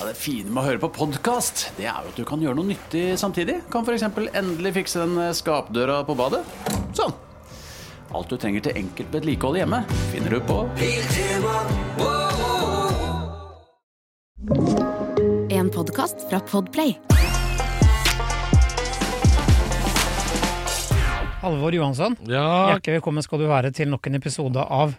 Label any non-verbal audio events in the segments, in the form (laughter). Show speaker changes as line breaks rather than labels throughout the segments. Ja, det fine med å høre på podkast, det er jo at du kan gjøre noe nyttig samtidig. Kan f.eks. endelig fikse den eh, skapdøra på badet. Sånn. Alt du trenger til enkelt vedlikehold hjemme, finner du på
En podcast fra Podplay
Halvor Johansson,
Ja,
hjertelig velkommen skal du være til nok en episode av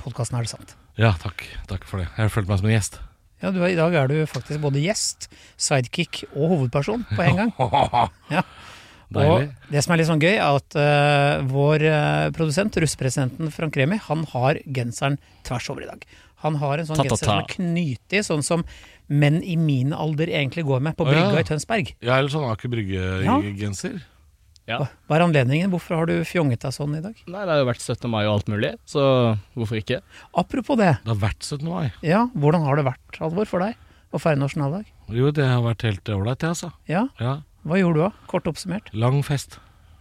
podkasten Er det sant?
ja takk. takk for det. Jeg følte meg som en
(laughs)
gjest.
Ja, du, er- I dag er du faktisk både gjest, sidekick og hovedperson på en gang. Ja. Og
Deilig.
det som er litt sånn gøy, er at eh, vår eh, produsent, russepresidenten Frank Remi, han har genseren tvers over i dag. Han har en sånn
Ta, ta,
genser som er
ta.
knytig, sånn som menn i min alder egentlig går med på
Å, ja.
brygga i Tønsberg.
Jeg er litt sånn Aker Brygge-genser.
Hva hva er anledningen? Hvorfor har du fjonget deg sånn i dag?
Nei, det har jo vært 17. mai og alt mulig, så hvorfor ikke?
Apropos det,
Det har vært 17. mai.
ja, hvordan har det vært, Halvor, for deg å feire nasjonaldag?
Jo, det har vært helt ålreit, det, altså.
Ja,
Ja.
Hva gjorde du da? Kort oppsummert.
Lang fest.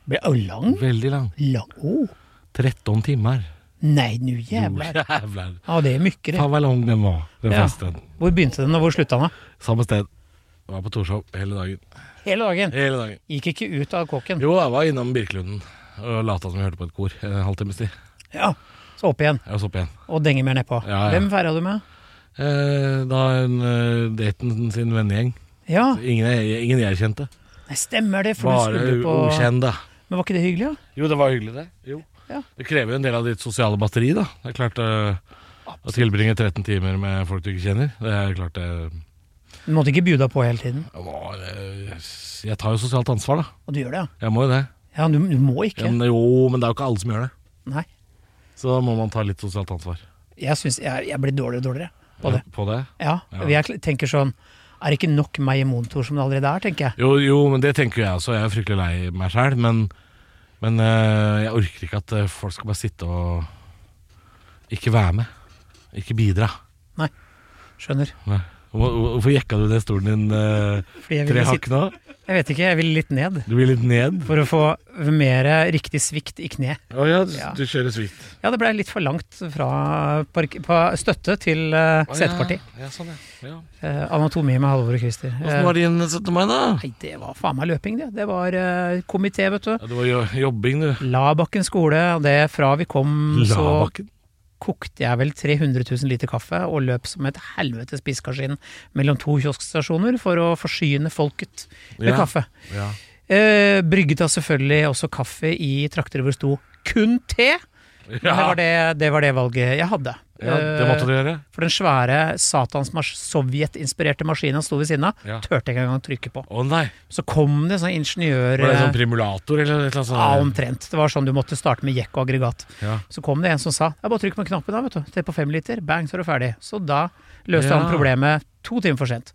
Ble å, lang?
Veldig lang.
Lang? Å,
13 timer.
nei, nu
Jo,
jævlar.
(laughs) Jævlar.
Ja, det er mykker. det.
Faen hvor lang den var, den
Ja.
festen.
Hvor begynte den, og hvor slutta den?
Samme sted. Jeg var på Torshov hele dagen.
Hele dagen.
Hele dagen.
Gikk ikke ut av kåken.
Jo, jeg var innom Birkelunden og lata som jeg hørte på et kor en halvtimes tid.
Ja, så opp igjen,
Jeg var så opp igjen.
og denge mer nedpå.
Ja, ja.
Hvem feira du med?
Eh, Da en, eh, daten sin vennegjeng.
Ja,
Ingen, jeg- ingen jeg kjente.
nei, stemmer det, for du
Bare
skulle på
ukjente.
Men var ikke det hyggelig, da?
Jo, det var hyggelig, det. Jo.
Ja.
Det krever jo en del av ditt sosiale batteri, da. Det er klart eh, å tilbringe 13 timer med folk du ikke kjenner. Det er klart det
Du måtte ikke bjuda på hele tiden.
Jeg må- eh, Jeg tar jo sosialt ansvar, da.
Og du gjør det, ja.
Jeg må jo det.
Ja, du, du må ikke.
Men, jo, men det er jo ikke alle som gjør det.
Nei.
Så da må man ta litt sosialt ansvar
Jeg syns jeg, jeg blir dårligere og dårligere på det.
på det.
Ja,
Ja.
Jeg tenker sånn Er det ikke nok meg i monitor som det allerede er, tenker jeg.
Jo, jo, men det tenker jo jeg også. Jeg er fryktelig lei meg sjæl. Men, men eh, jeg orker ikke at eh, folk skal bare sitte og ikke være med. Ikke bidra.
Skjønner.
Nei. Hvor- hvor- Hvorfor jekka du ned stolen din eh,
Fordi jeg
tre
ville
hakk
sitte
nå?
Jeg vet ikke, jeg ville litt ned.
Du blir litt ned?
For å få mer riktig svikt i kne.
Å ja, du,
Ja.
du kjører svikt.
Ja, det blei litt for langt fra park pa- støtte til uh, seteparti.
Ja, sånn ja. ja.
Eh, anatomi med Halvor og Christer. Eh,
Åssen var din 17. mai, da?
nei, det var faen meg løping, det. Det var eh, komité, vet du.
Ja, det var jo jobbing, du.
Labakken skole. og Det fra vi kom, Mm, så
Labakken.
kokte jeg vel 300 000 liter kaffe og løp som et helvetes piskaskinn mellom to kioskstasjoner for å forsyne folket med
Ja.
kaffe.
Ja.
Eh, brygget da selvfølgelig også kaffe i trakter hvor det sto 'kun te'.
Ja.
Det, var det, det var det valget jeg hadde.
ja, det måtte du gjøre.
Eh, For den svære satans mas sovjetinspirerte maskina sto ved siden av.
Ja.
Tørte jeg ikke engang trykke på.
Å nei.
Så kom det sånn ingeniør...
Var det sånn primulator eller et eller
ja,
annet?
omtrent. Det var sånn du måtte starte med jekk og aggregat.
sånt? Ja.
Så kom det en som sa ja, bare trykk på knappen da, vet du. Se på fem liter, bang, så er du ferdig. Så da løste
Ja.
han problemet to timer for sent.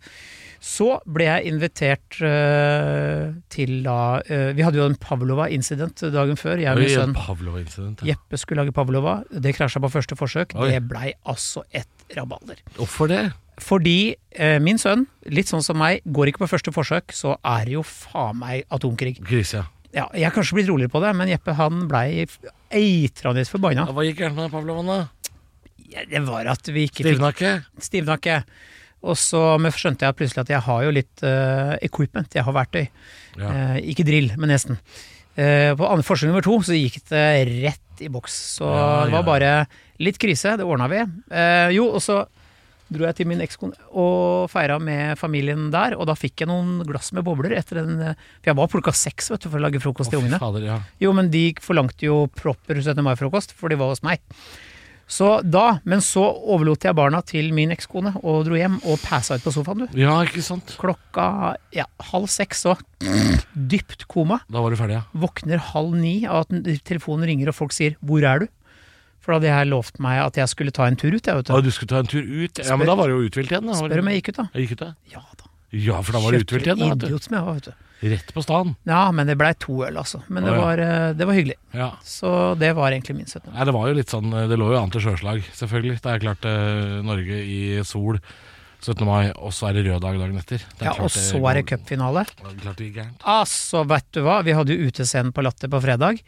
Så ble jeg invitert eh, til da eh, Vi hadde jo en Pavlova-incident dagen før, jeg og min
Oi,
sønn.
Pavlov-incident. ja.
Jeppe skulle lage Pavlova, det krasja på første forsøk.
Oi.
Det blei altså et rabalder.
Hvorfor det?
Fordi eh, min sønn, litt sånn som meg, går ikke på første forsøk, så er det jo faen meg atomkrig.
Grise, ja.
Ja, jeg er kanskje blitt roligere på det, men Jeppe han blei f- eitrende forbanna.
Ja, Hva gikk gærent med Pavlovan, da?
Ja, Det var at vi ikke fikk
Stivna ikke?
Stivna ikke. Og så men skjønte jeg plutselig at jeg har jo litt eh, equipment, jeg har verktøy.
Ja.
Eh, ikke drill, men nesten. Eh, på andre forsøk nummer to så gikk det rett i boks. Så
Ja,
det var
ja.
bare litt krise, det ordna vi. Eh, jo, og så dro jeg til min ekskone og feira med familien der, og da fikk jeg noen glass med bobler etter den eh, For jeg var på klokka seks vet du, for å lage frokost til
Å, fy
ungene.
Fader, ja.
Jo, men de forlangte jo proper 17. mai-frokost, for de var hos meg. Så da, Men så overlot jeg barna til min ekskone og dro hjem og passa ut på sofaen, du.
ja, ikke sant?
Klokka ja, halv seks så (clears throat) dypt koma.
Da var du ferdig, ja.
Våkner halv ni av at n- telefonen ringer og folk sier 'hvor er du?' For da hadde jeg lovt meg at jeg skulle ta en tur ut, jeg, vet
Da
du.
du skulle ta en tur ut? Ja,
Spør-
men da var det jo uthvilt igjen. Da.
Spør om jeg gikk ut, da.
Jeg gikk ut, da.
Ja da.
Ja, for da var det uthvilt igjen. Da, vet du.
Idiot som jeg var, vet du.
Rett på staden.
Ja, men det blei to øl, altså. Men det
Å, ja.
var, eh, det var hyggelig.
Ja.
Så det var egentlig min 17. mai.
Nei, det var jo litt sånn Det lå jo an til sjøslag, selvfølgelig. Det er klart eh, Norge i sol 17. mai, og så er det rød dag dagen etter. Det er
Ja, og
klart
så er det
går-
cupfinale.
Ja, det er Klart det gikk gærent.
Altså, vet du hva, vi hadde jo utescenen på Latter på fredag.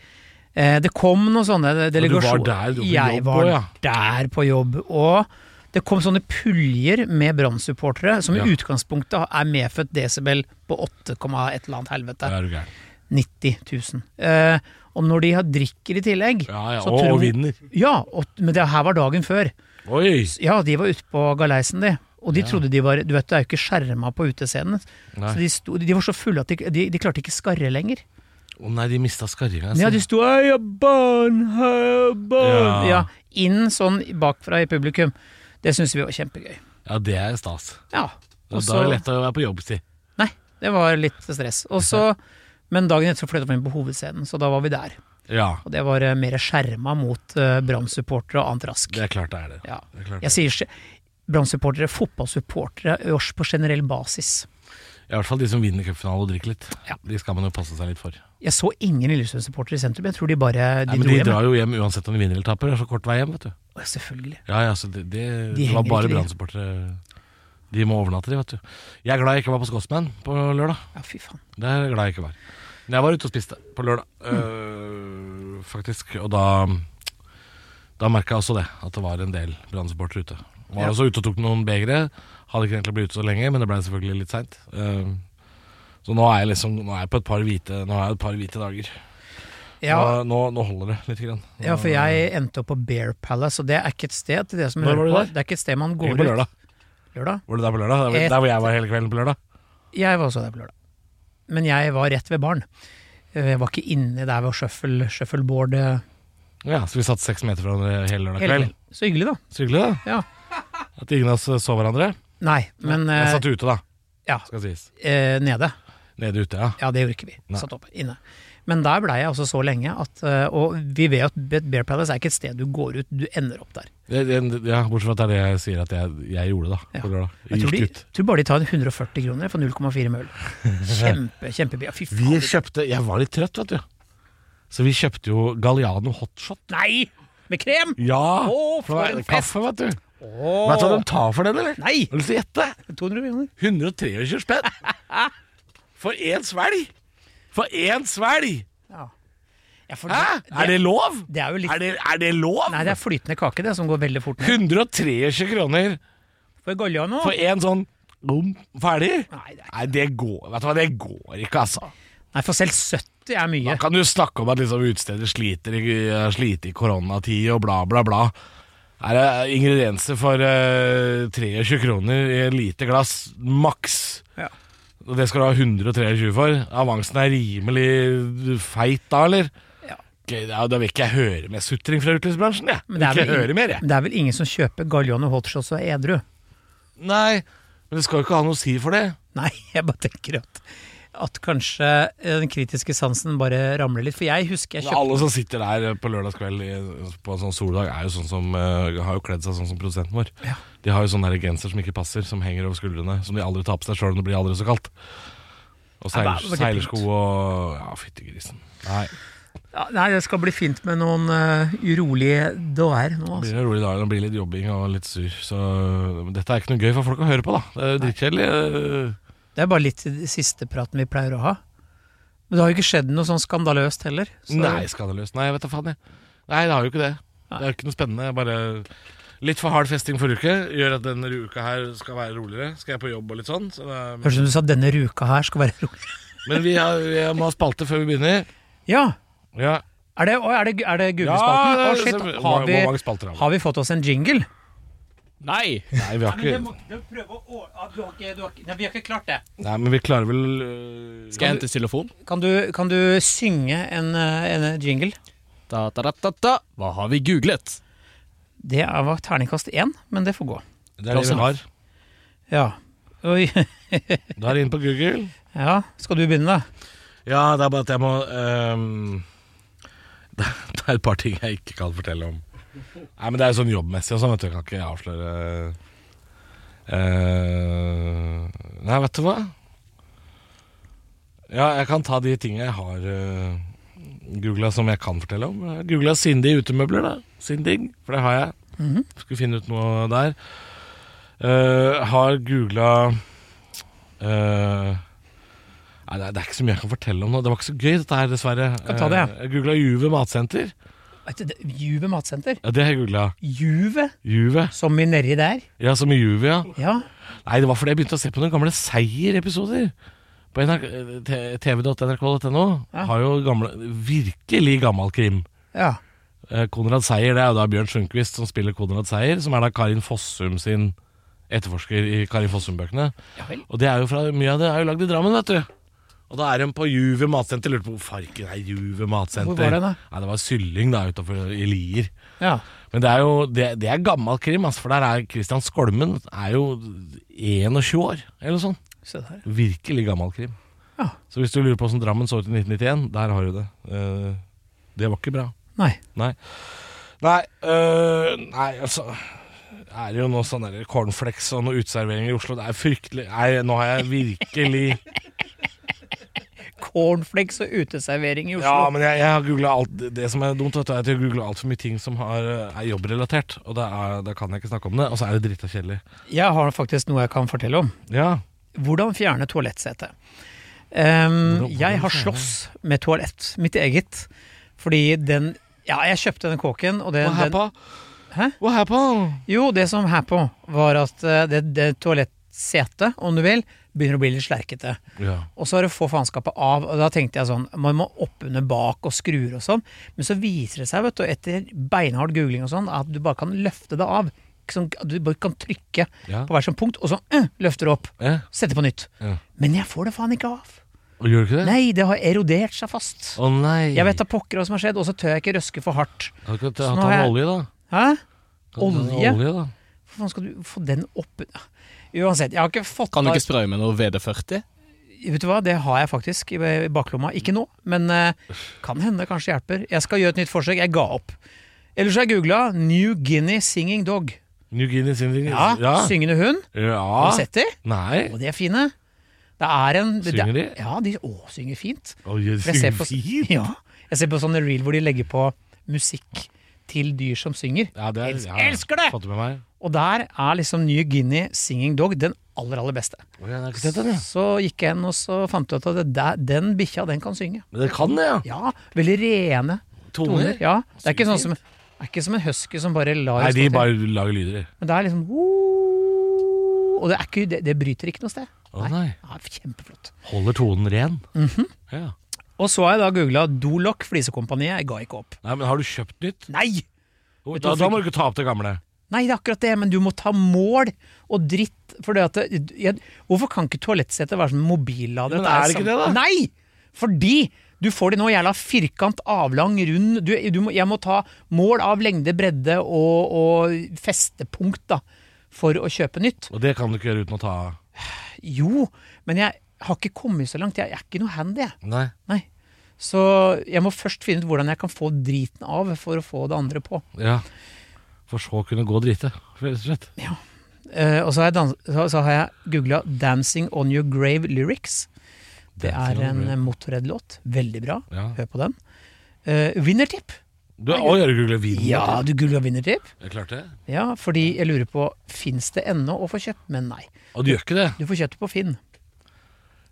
Eh, det kom noen sånne
du var
delegasjoner.
der, du var på
jeg
jobb
var
også, ja.
der på jobb, og Det kom sånne puljer med Brann-supportere, som
Ja.
i utgangspunktet er medfødt desibel på 8, et eller annet helvete.
Da er du gæren.
90 000. Eh, og når de har drikker i tillegg
Ja, ja,
så
og,
tror-
og vinner.
Ja, og, men det her var dagen før.
Oi!
Ja, de var ute på galeisen, de. Og de trodde de var Du vet, det er jo ikke skjerma på utescenen.
Nei.
Så de, sto, de var så fulle at de, de, de klarte ikke skarre lenger.
Å nei, de mista skarringa.
Ja, de sto «Heia barn, heia barn!
Altså- Ja.
Ja. inn sånn bakfra i publikum. Det syns vi var kjempegøy.
Ja, det er stas.
Ja.
Og
og
da er
så-
det lett å være på jobbstid.
Nei, det var litt stress. Og så, men dagen etter så flytta vi inn på hovedscenen, så da var vi der.
Ja,
Og det var eh, mer skjerma mot eh, Brann-supportere og annet rask.
det er klart det er det.
Ja.
Det er klart
Jeg
det.
sier ikke Brann-supportere, fotballsupportere øverst på generell basis.
I hvert fall de som vinner cupfinalen og drikker litt.
Ja.
De skal man jo passe seg litt for.
Jeg så ingen Lillesund-supportere i sentrum, jeg tror de bare de
Nei, men
dro
de
hjem.
drar jo hjem uansett om de vinner eller taper. Det er så kort vei hjem, vet du.
Å, Selvfølgelig.
Ja, ja, så det, det,
De
det var
henger
bare
ikke, de.
Brann-supportere. De må overnatte, de, vet du. Jeg er glad jeg ikke var på Scotsman på lørdag.
Ja, fy faen.
Det er jeg glad jeg ikke var. Men jeg var ute og spiste på lørdag,
Mm.
øh, faktisk. Og da, da merka jeg også det, at det var en del Brann-supportere ute. Var
Ja.
også ute og tok noen begre. Hadde ikke egentlig blitt ute så lenge, men det ble selvfølgelig litt seint. så nå er jeg liksom Nå er jeg på et par hvite, nå er jeg et par hvite dager.
Ja,
Nå, nå, nå holder det lite grann.
ja, for jeg endte opp på Bear Palace, og det er ikke et sted til det som
Eh. Når
hører
var du
på.
der?
Det er ikke et sted man går
Ikke på
ut.
lørdag.
Lørdag?
Var du der på lørdag? Der hvor- Der hvor jeg var hele kvelden på lørdag?
Jeg var også der på lørdag. Men jeg var rett ved baren. Eh, Jeg var ikke inne der ved shuffle, shuffleboard eh,
Ja, Så vi satt seks meter fra hverandre hele lørdag
hele
kveld.
kvelden. Så hyggelig, da.
Så hyggelig, da.
Ja.
At ingen av oss eh, så hverandre.
Nei, men
Jeg
eh,
satt ute, da,
ja,
skal sies.
eh, nede.
Nede ute, ja.
Ja, det gjorde ikke vi.
Nei.
Satt oppe inne. Men der blei jeg altså så lenge at eh, Og vi vet at Bear Palace er ikke et sted du går ut, du ender opp der.
Det, det, ja, bortsett fra at det er det jeg sier at jeg, jeg gjorde, da.
Ja.
På lørdag.
Jeg tror,
Gikk
de,
ut.
tror bare de tar en 140 kroner for 0,4
(laughs)
med øl. Kjempe, kjempebia. Fy
Vi
faen.
kjøpte Jeg var litt trøtt, vet du. Så vi kjøpte jo Galliano hotshot.
Nei! Med krem!
Ja!
Å, for
det var
en fest!
Kaffe, vet du.
Åh.
Vet du hva de tar for den, eller?
Nei!
Har du lyst til å gjette?
200 kroner.
123 spenn!
(laughs)
For én svelg! For én svelg!
Ja, for
Hæ? Er det lov?
det er jo litt-
er det, er det lov?
Nei, det er flytende kake, det, som går veldig fort ned.
123 kroner
For Galliano
for én sånn bom, ferdig?
Nei, det er ikke-
Nei, det går, vet du hva, det går ikke, altså.
Nei, for selv 70 er mye.
Da kan du snakke om at liksom utesteder sliter, i- eh, sliter i koronatid og bla, bla, bla. Her er ingredienser for eh, 23 kroner i et lite glass, maks.
Ja.
Og det skal du ha 123 for. Avansen er rimelig feit da, eller?
Ja.
Ok, Ja, da vil ikke jeg høre mer sutring fra utelivsbransjen, jeg.
Men det er,
ikke
vel
høre
ingen,
mer, jeg.
det er vel ingen som kjøper Galliano hotshots og er edru? (laughs)
Nei, men det skal jo ikke ha noe å si for det.
Nei, jeg bare tenker at, at kanskje eh, den kritiske sansen bare ramler litt. For jeg husker jeg
Men
kjøpte
alle som sitter der eh, på lørdagskveld i- på en sånn soldag, er jo sånn som, eh, har jo kledd seg sånn som produsenten vår.
Ja.
De har jo sånne der genser som ikke passer, som henger over skuldrene, som de aldri tar på seg sjøl om det blir aldri så kaldt. Og
Ja, det er
seiler,
veldig
seilersko og Ja, fytti grisen. Nei,
ja, Nei, det skal bli fint med noen eh, urolige dager nå,
det
altså.
blir en rolig dag. Det blir litt jobbing og litt sur. Så men dette er ikke noe gøy for folk å høre på, da. Det er jo dritkjedelig. eh.
Det er bare litt den siste praten vi pleier å ha. Men det har jo ikke skjedd noe sånn skandaløst heller. så-
Nei, skandaløst. Nei, vet du faen, jeg. Nei, det har jo ikke det. Det er jo ikke noe spennende. Jeg Bare litt for hard festing forrige uke gjør at denne uka her skal være roligere. Skal jeg på jobb og litt sånn. Så det er
Høres ut som du sa at denne ruka her skal være rolig.
Men vi, har, vi må ha spalte før vi begynner.
Ja!
Ja,
Er det, å, er det, er det
Ja,
Google-spalten? Å,
det-
shit,
så- hvor-
har,
hvor mange spalter har
vi,
vi?
har vi fått oss en jingle?
Nei!
Nei, vi har ikke
vi har ikke klart det.
Nei, men vi klarer vel øh,
Skal jeg hente xylofon?
Kan du, kan du synge en, eh, en jingle?
Da, da, da, da, da. Hva har vi googlet?
Det er- var terningkast én, men det får gå.
Det er det vi har.
Ja. Oi. (laughs)
Da er det inn på Google.
Ja, skal du begynne, da?
Ja, det er bare at jeg må øhm, (laughs) det, er- det er et par ting jeg ikke kan fortelle om. Nei, men det er jo sånn jobbmessig og sånn, vet du. Jeg kan ikke avsløre øh, Nei, vet du hva? Ja, jeg kan ta de tingene jeg har øh, googla som jeg kan fortelle om. Jeg Googla Cindy utemøbler, da. Sinding, for det har jeg. Skulle finne ut noe der. Eh, har googla Nei, det er- det er ikke så mye jeg kan fortelle om nå. Det var ikke så gøy, dette her, dessverre.
Kan ta det, ja.
Eh, Jeg googla Juve matsenter.
Vet du, det- Juve matsenter.
Ja, det har jeg googla.
Juve,
Juve.
som i nedi der.
Ja, som i Juve, ja.
Ja.
Nei, det var fordi jeg begynte å se på noen gamle seier-episoder. På NRK t- tv.nrk.no
Ja.
har jo gamle, virkelig gammel krim.
ja.
Eh, Konrad Seier, det er jo da Bjørn Sundquist som spiller Konrad Seier, som er da Karin Fossum sin etterforsker i Karin Fossum-bøkene.
Ja vel.
Og det er jo fra, mye av det er jo lagd i Drammen, vet du. Og da er de på Juve matsenter. Lurte på hvor farken er Juve matsenter.
Hvor var det da?
Nei, det var Sylling, da, utafor i Lier.
ja.
Men det er jo det, det er gammel krim, altså, for der er Christian Skolmen er jo 21 år, eller noe sånt.
Se der.
Virkelig gammel krim.
Ja.
Så hvis du lurer på hvordan Drammen så ut i 1991, der har du det. Eh, det var ikke bra.
Nei.
Nei. Nei, øh, nei altså er det jo noe sånn der cornflakes og noe uteservering i Oslo. Det er fryktelig Nei, nå har jeg virkelig
Cornflakes og uteservering i Oslo.
Ja, men jeg, jeg har googlet alt det- Det som er dumt, vet du, er at jeg har googla altfor mye ting som har, eh, er jobbrelatert. Og da er- da kan jeg ikke snakke om det. Og så er det drita kjedelig.
Jeg har faktisk noe jeg kan fortelle om.
Ja.
Hvordan fjerne toalettsetet. Ehm, jeg har slåss med toalett, mitt eget. Fordi den Ja, jeg kjøpte den kåken, og den,
Hva her
den
på?
Hæ?
Hva her på?
Jo, det som her på, var at eh, det, det toalettsetet, om du vil, begynner å bli litt slerkete.
Ja.
Og så er det å få faenskapet av, og da tenkte jeg sånn, man må oppunder bak og skruer og sånn, men så viser det seg, vet du, etter beinhard googling og sånn, at du bare kan løfte det av. Ikke Sånn, du bare kan trykke
Ja.
på hver sånn punkt, og så øh, løfter du opp.
Ja.
Sette på nytt.
Ja.
Men jeg får det faen ikke av.
Eh, Og gjør du ikke det?
Nei, det har erodert seg fast.
Å nei.
Jeg vet da pokker hva som har skjedd, og så tør jeg ikke røske for hardt.
Kan du ikke
Så
ha
nå har
tatt
jeg-
olje, da?
Hæ?
Kan du ta
Olje?
olje da?
Hvorfor faen skal du få den opp Uansett, jeg har ikke fått
Kan du
av-
ikke spraye med noe VD40?
Vet du hva, det har jeg faktisk i i baklomma. Ikke nå, men eh, kan hende kanskje hjelper. Jeg skal gjøre et nytt forsøk. Jeg ga opp. Ellers har jeg googla New Guinea Singing Dog.
New Guinea Singing
Ja, Syngende hund. Har du
ja.
sett de?
Nei.
Og de er fine. Det er en det,
Synger de?
det- Ja, de å, synger fint.
Å, jeg
For jeg ser
synger
på-
fint.
Ja, jeg ser på sånne reel hvor de legger på musikk til dyr som synger.
Ja, det er,
Elsk-
ja,
elsker det!
Fått det med meg.
Og der er liksom New Guinea Singing Dog den aller, aller beste.
Å, jeg har ikke sett den, jeg.
Så gikk jeg inn og så fant jeg ut at det der, den bikkja, den kan synge.
Men det kan det, ja.
Ja, veldig rene toner.
Toner.
Ja, det er ikke sånn som det er ikke som en husky som bare lar
Nei,
stå
de
til.
bare lager lyder. i.
Men det er liksom «Woo», Og det, er ikke, det, det bryter ikke noe sted.
Å nei.
Ja, kjempeflott.
Holder tonen ren.
Mhm.
ja.
Og så har jeg da googla Dolok Flisekompaniet. Jeg ga ikke opp.
Nei, men har du kjøpt nytt?
Nei! Vet du
Da,
hva
da
du-
må du ikke ta opp det gamle.
Nei, det er akkurat det, men du må ta mål og dritt. For det at det, jeg, hvorfor kan ikke toalettsetet være sånn mobillader?
Men
At
er det ikke
sam-
det, da?
Nei! Fordi du får det nå jævla firkant, avlang, rund du, du må, Jeg må ta mål av lengde, bredde og, og festepunkt, da, for å kjøpe nytt.
Og det kan du ikke gjøre uten å ta
Jo, men jeg har ikke kommet så langt. Jeg er ikke noe handy, jeg.
Nei.
Nei. Så jeg må først finne ut hvordan jeg kan få driten av for å få det andre på.
Ja. For så å kunne gå og drite, rett og slett.
Eh, og så har jeg, dans- så, så har jeg googla 'Dancing On Your Grave Lyrics'. Det er en eh, Motorhead-låt. Veldig bra.
Ja.
Hør på den. Eh, vinnertipp!
Du har òg googla video.
Ja, du googla vinnertipp.
Jeg klarte det.
Ja, fordi jeg lurer på Fins det ennå å få kjøpt? Men nei.
Og du gjør ikke det?
Du får kjøpt det på Finn.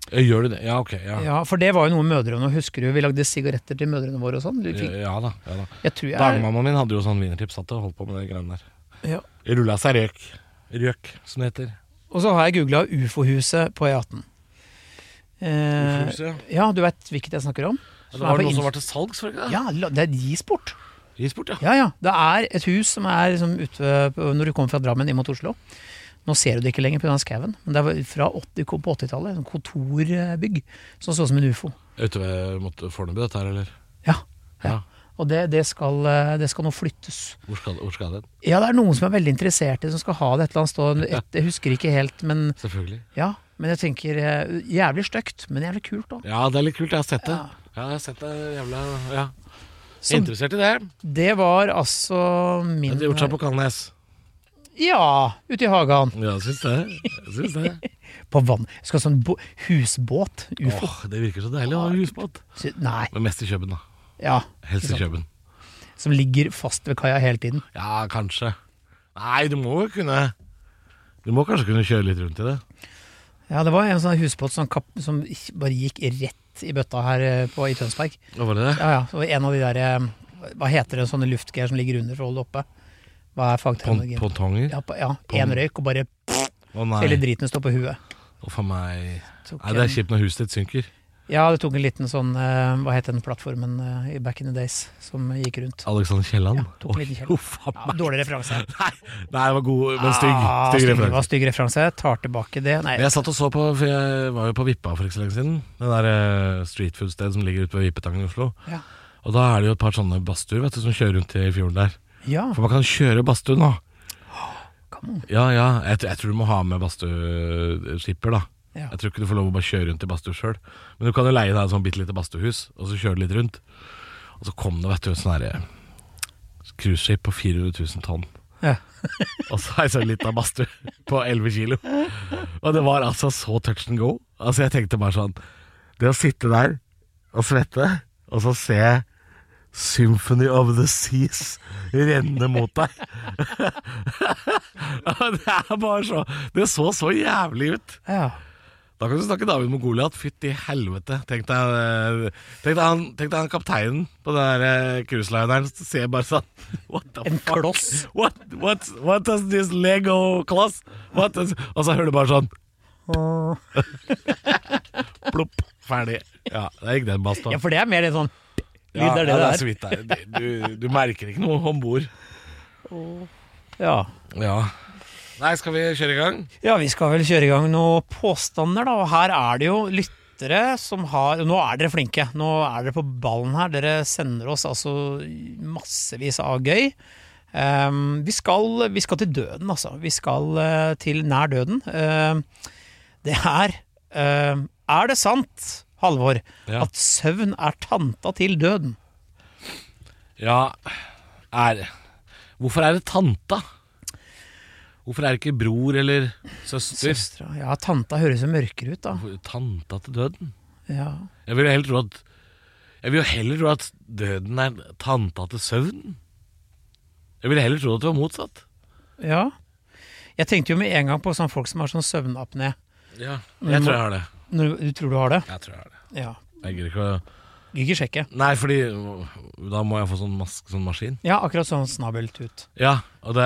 Ja, Gjør du det? Ja, ok. Ja, ja,
Ja, For det var jo noe mødrene Husker du vi lagde sigaretter til mødrene våre og sånn? Du fikk-
ja da. Ja, da.
Jeg tror jeg
Dagmammaen min hadde jo sånn wienertips. Satt og holdt på med de greiene der.
ja.
Rulla seg røk. Røk, som det heter.
Og så har jeg googla UFO-huset på E18. Eh,
Ufos, ja.
ja, du veit hvilket jeg snakker om?
Ja,
Som
det
er
var
på
noe
Inst-
som var til salgs, var det ikke det?
Ja, la- det gis bort.
I sport, ja.
Ja, ja. Det er et hus som er liksom ute på- når du kommer fra Drammen inn mot Oslo. Nå ser du det ikke lenger pga. skauen, men det var fra 80, på 80-tallet. sånn kontorbygg som så ut som en ufo.
Ute ved måtte Fornebu, dette her, eller?
Ja.
Ja.
Og det, det, skal, eh, det skal nå flyttes.
Hvor skal, hvor skal den?
Ja, det er noen som er veldig interessert i som skal ha det et eller annet sted. Et- Jeg husker ikke helt, men
Selvfølgelig.
ja. Men jeg tenker eh, Jævlig stygt, men jævlig kult òg.
Ja, det er litt kult. Jeg har sett det. Ja, jeg har sett det jævla Ja.
Så
Interessert i det.
det var altså min
Hadde gjort seg på Kalnes.
Ja, ute i hagen.
Ja, jeg syns det. Jeg syns
(laughs)
det.
På vann. Jeg skal ha sånn bo- husbåt. Ufo.
Åh, det virker så deilig å ha husbåt.
Så- Nei.
Men mest i Køben, da.
Ja.
Helst i Køben.
som ligger fast ved kaia hele tiden.
Ja, kanskje. Nei, du må jo kunne Du må kanskje kunne kjøre litt rundt i det.
Ja, det var en sånn husbåt som, kap, som ikke- bare gikk rett i bøtta her eh, på, i Tønsberg.
Hva var det?
Ja, ja, det var en av de der eh, Hva heter det sånne luftgreier som ligger under for å holde det oppe? Hva er
Pon
fagterminologien?
pontonger?
Ja, på- ja én røyk, og bare
Å nei,
hele driten står på huet.
å for meg
Tok
Nei, det er
en-
kjipt når huset ditt synker.
Ja, det tok en liten sånn eh, Hva het den plattformen eh, i back in the days som gikk rundt?
Alexander Kielland.
Ja, tok en liten Kielland.
Å, jo, faen meg.
Dårlig referanse.
Nei, det var god, men stygg.
Ah,
Stygg
Det var
referanse.
stygg referanse. Tar tilbake det. Nei,
Men Jeg satt og så på, for jeg var jo på Vippa for ikke så lenge siden. Det der eh, streetfood-stedet som ligger ute på Vippetangen i Oslo.
Ja.
Og da er det jo et par sånne badstuer vet du, som kjører rundt i fjorden der.
ja.
For man kan kjøre badstue nå.
come on.
Ja, ja. Jeg, tr- jeg tror du må ha med badstueskipper, da.
Ja.
Jeg tror ikke du får lov å bare kjøre rundt i badstue sjøl. Men du kan jo leie deg et sånt bitte lite badstuehus, og så kjøre litt rundt. Og så kom det, vet du, et sånn herre cruiseskip på 400 000 tonn.
Ja.
og så ei sånn lita badstue (laughs) på 11 kilo. Og det var altså så touch and go. Altså Jeg tenkte bare sånn Det å sitte der og svette, og så se Symphony of the Seas renne mot deg. (laughs) det er bare så Det så så jævlig ut.
ja.
Da kan du snakke David med Goliat. Fytti helvete. Tenk deg, eh, tenk deg, han, tenk deg han kapteinen på den der, eh, cruiselineren som ser bare sånn (laughs) What the
En
fuck?
kloss.
What, what, what does this Lego class what does, Og så hører du bare sånn plopp. Ferdig. Ja, der gikk den basta.
ja, for det er mer litt sånn lyd
Ja,
er det
ja,
det
er så vidt det er. Det- Du, du merker ikke noe om bord.
Ja.
Ja. Nei, skal vi kjøre i gang?
ja, vi skal vel kjøre i gang noen påstander, da. Og her er det jo lyttere som har Nå er dere flinke. Nå er dere på ballen her. Dere sender oss altså massevis av gøy. Ehm, vi, skal, vi skal til døden, altså. Vi skal eh, til nær døden. Ehm, det her ehm, Er det sant, Halvor,
Ja.
at søvn er tanta til døden?
Ja, er Hvorfor er det tanta? Hvorfor er det ikke bror eller søster?
Søstra. Ja, tanta høres jo mørkere ut, da.
Hvor- Tanta til døden?
Ja.
Jeg vil jo heller tro at Jeg vil jo heller tro at døden er tanta til søvnen. Jeg ville heller tro at det var motsatt.
ja. Jeg tenkte jo med en gang på sånne folk som har sånn søvnapné.
Ja, jeg tror jeg har det.
Når Du du tror du har det?
Jeg tror jeg har det.
Ja.
Jeg gidder ikke å
Gidder ikke sjekke.
Nei, fordi da må jeg få sånn, mask, sånn maskin.
Ja, akkurat sånn snabeltut.
Ja, og, det,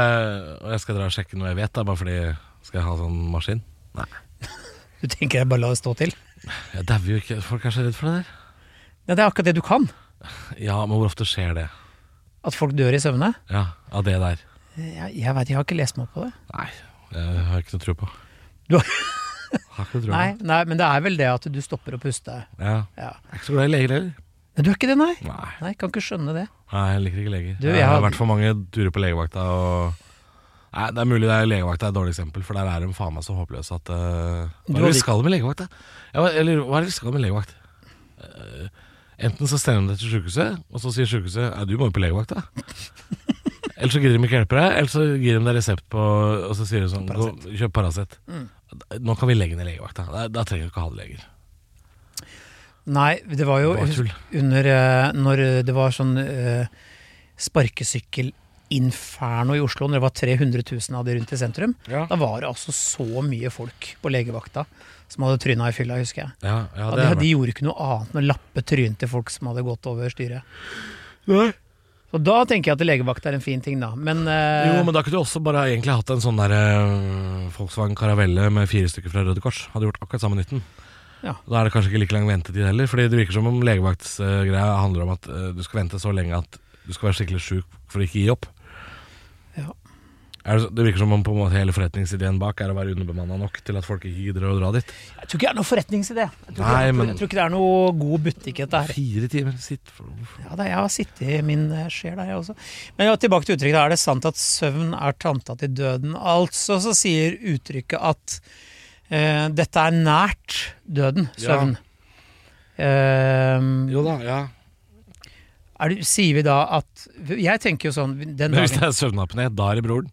og jeg skal dra og sjekke noe jeg vet, da, bare fordi Skal jeg ha sånn maskin? Nei.
Du tenker jeg bare la det stå til?
Jeg dauer jo ikke. Folk er så redd for det der.
Ja, det er akkurat det du kan.
Ja, men hvor ofte skjer det?
At folk dør i søvne.
Ja, Av det der?
Jeg, jeg veit, jeg har ikke lest meg opp på det.
Nei, jeg har ikke noe tro på.
Du har-
har ikke noe tro
Nei,
på.
nei, men det er vel det at du stopper å puste.
Ja.
Ja.
Jeg er ikke så glad i leger heller.
Men du er ikke det, nei?
Nei.
Nei, Kan ikke skjønne det.
Nei, jeg liker ikke leger.
Du,
jeg,
jeg
har
har-
vært for mange turer på legevakta. Og... Nei, Det er mulig det er legevakta er et dårlig eksempel, for der er de faen meg så håpløse at eh,
Du har
Hva er det vi
lik-
skal med legevakt, da? Ja, hva- eller hva er det vi skal med legevakt? Eh, enten så sender de deg til sjukehuset, og så sier sjukehuset ja, du må jo på legevakt, (laughs) da. eller så gidder de ikke hjelpe deg, eller så gir de deg resept på Og så sier de sånn gå, kjøp Paracet. Mm. Nå kan vi legge ned legevakta. Da, da trenger du ikke ha det leger.
Nei, det var jo
Bare tull.
under eh, Når det var sånn eh, sparkesykkelinferno i Oslo, når det var 300 000 av de rundt i sentrum,
Ja.
da var det altså så mye folk på legevakta som hadde tryna i fylla, husker jeg.
Ja, ja,
Ja,
det
de,
er
de gjorde ikke noe annet enn å lappe trynet til folk som hadde gått over styret.
Nei.
Så da tenker jeg at legevakt er en fin ting, da. Men, eh,
Jo, men da kunne du også bare egentlig hatt en sånn der eh, Volkswagen Caravelle med fire stykker fra Røde Kors. Hadde gjort akkurat samme nytten.
Ja.
Da er det kanskje ikke like lang ventetid heller. Fordi det virker som om legevaktsgreia handler om at eh, du skal vente så lenge at du skal være skikkelig sjuk for å ikke gi opp.
Ja.
Er det, så- det virker som om på en måte hele forretningsideen bak er å være underbemanna nok til at folk ikke gidder å dra dit.
jeg tror ikke det er noe forretningsidé. Jeg tror,
Nei,
ikke,
men-
jeg tror ikke det er noe god butikk, dette her.
Fire timer sitt for noe.
Ja, da, jeg har sittet i min eh, sjel der, jeg også. Men ja, tilbake til uttrykket. Er det sant at søvn er tanta til døden? Altså så sier uttrykket at eh, dette er nært døden, søvn. Eh,
Jo da, ja.
er det, sier vi da at Jeg tenker jo sånn den
Men hvis
dagen,
det er søvnapné, da er det broren.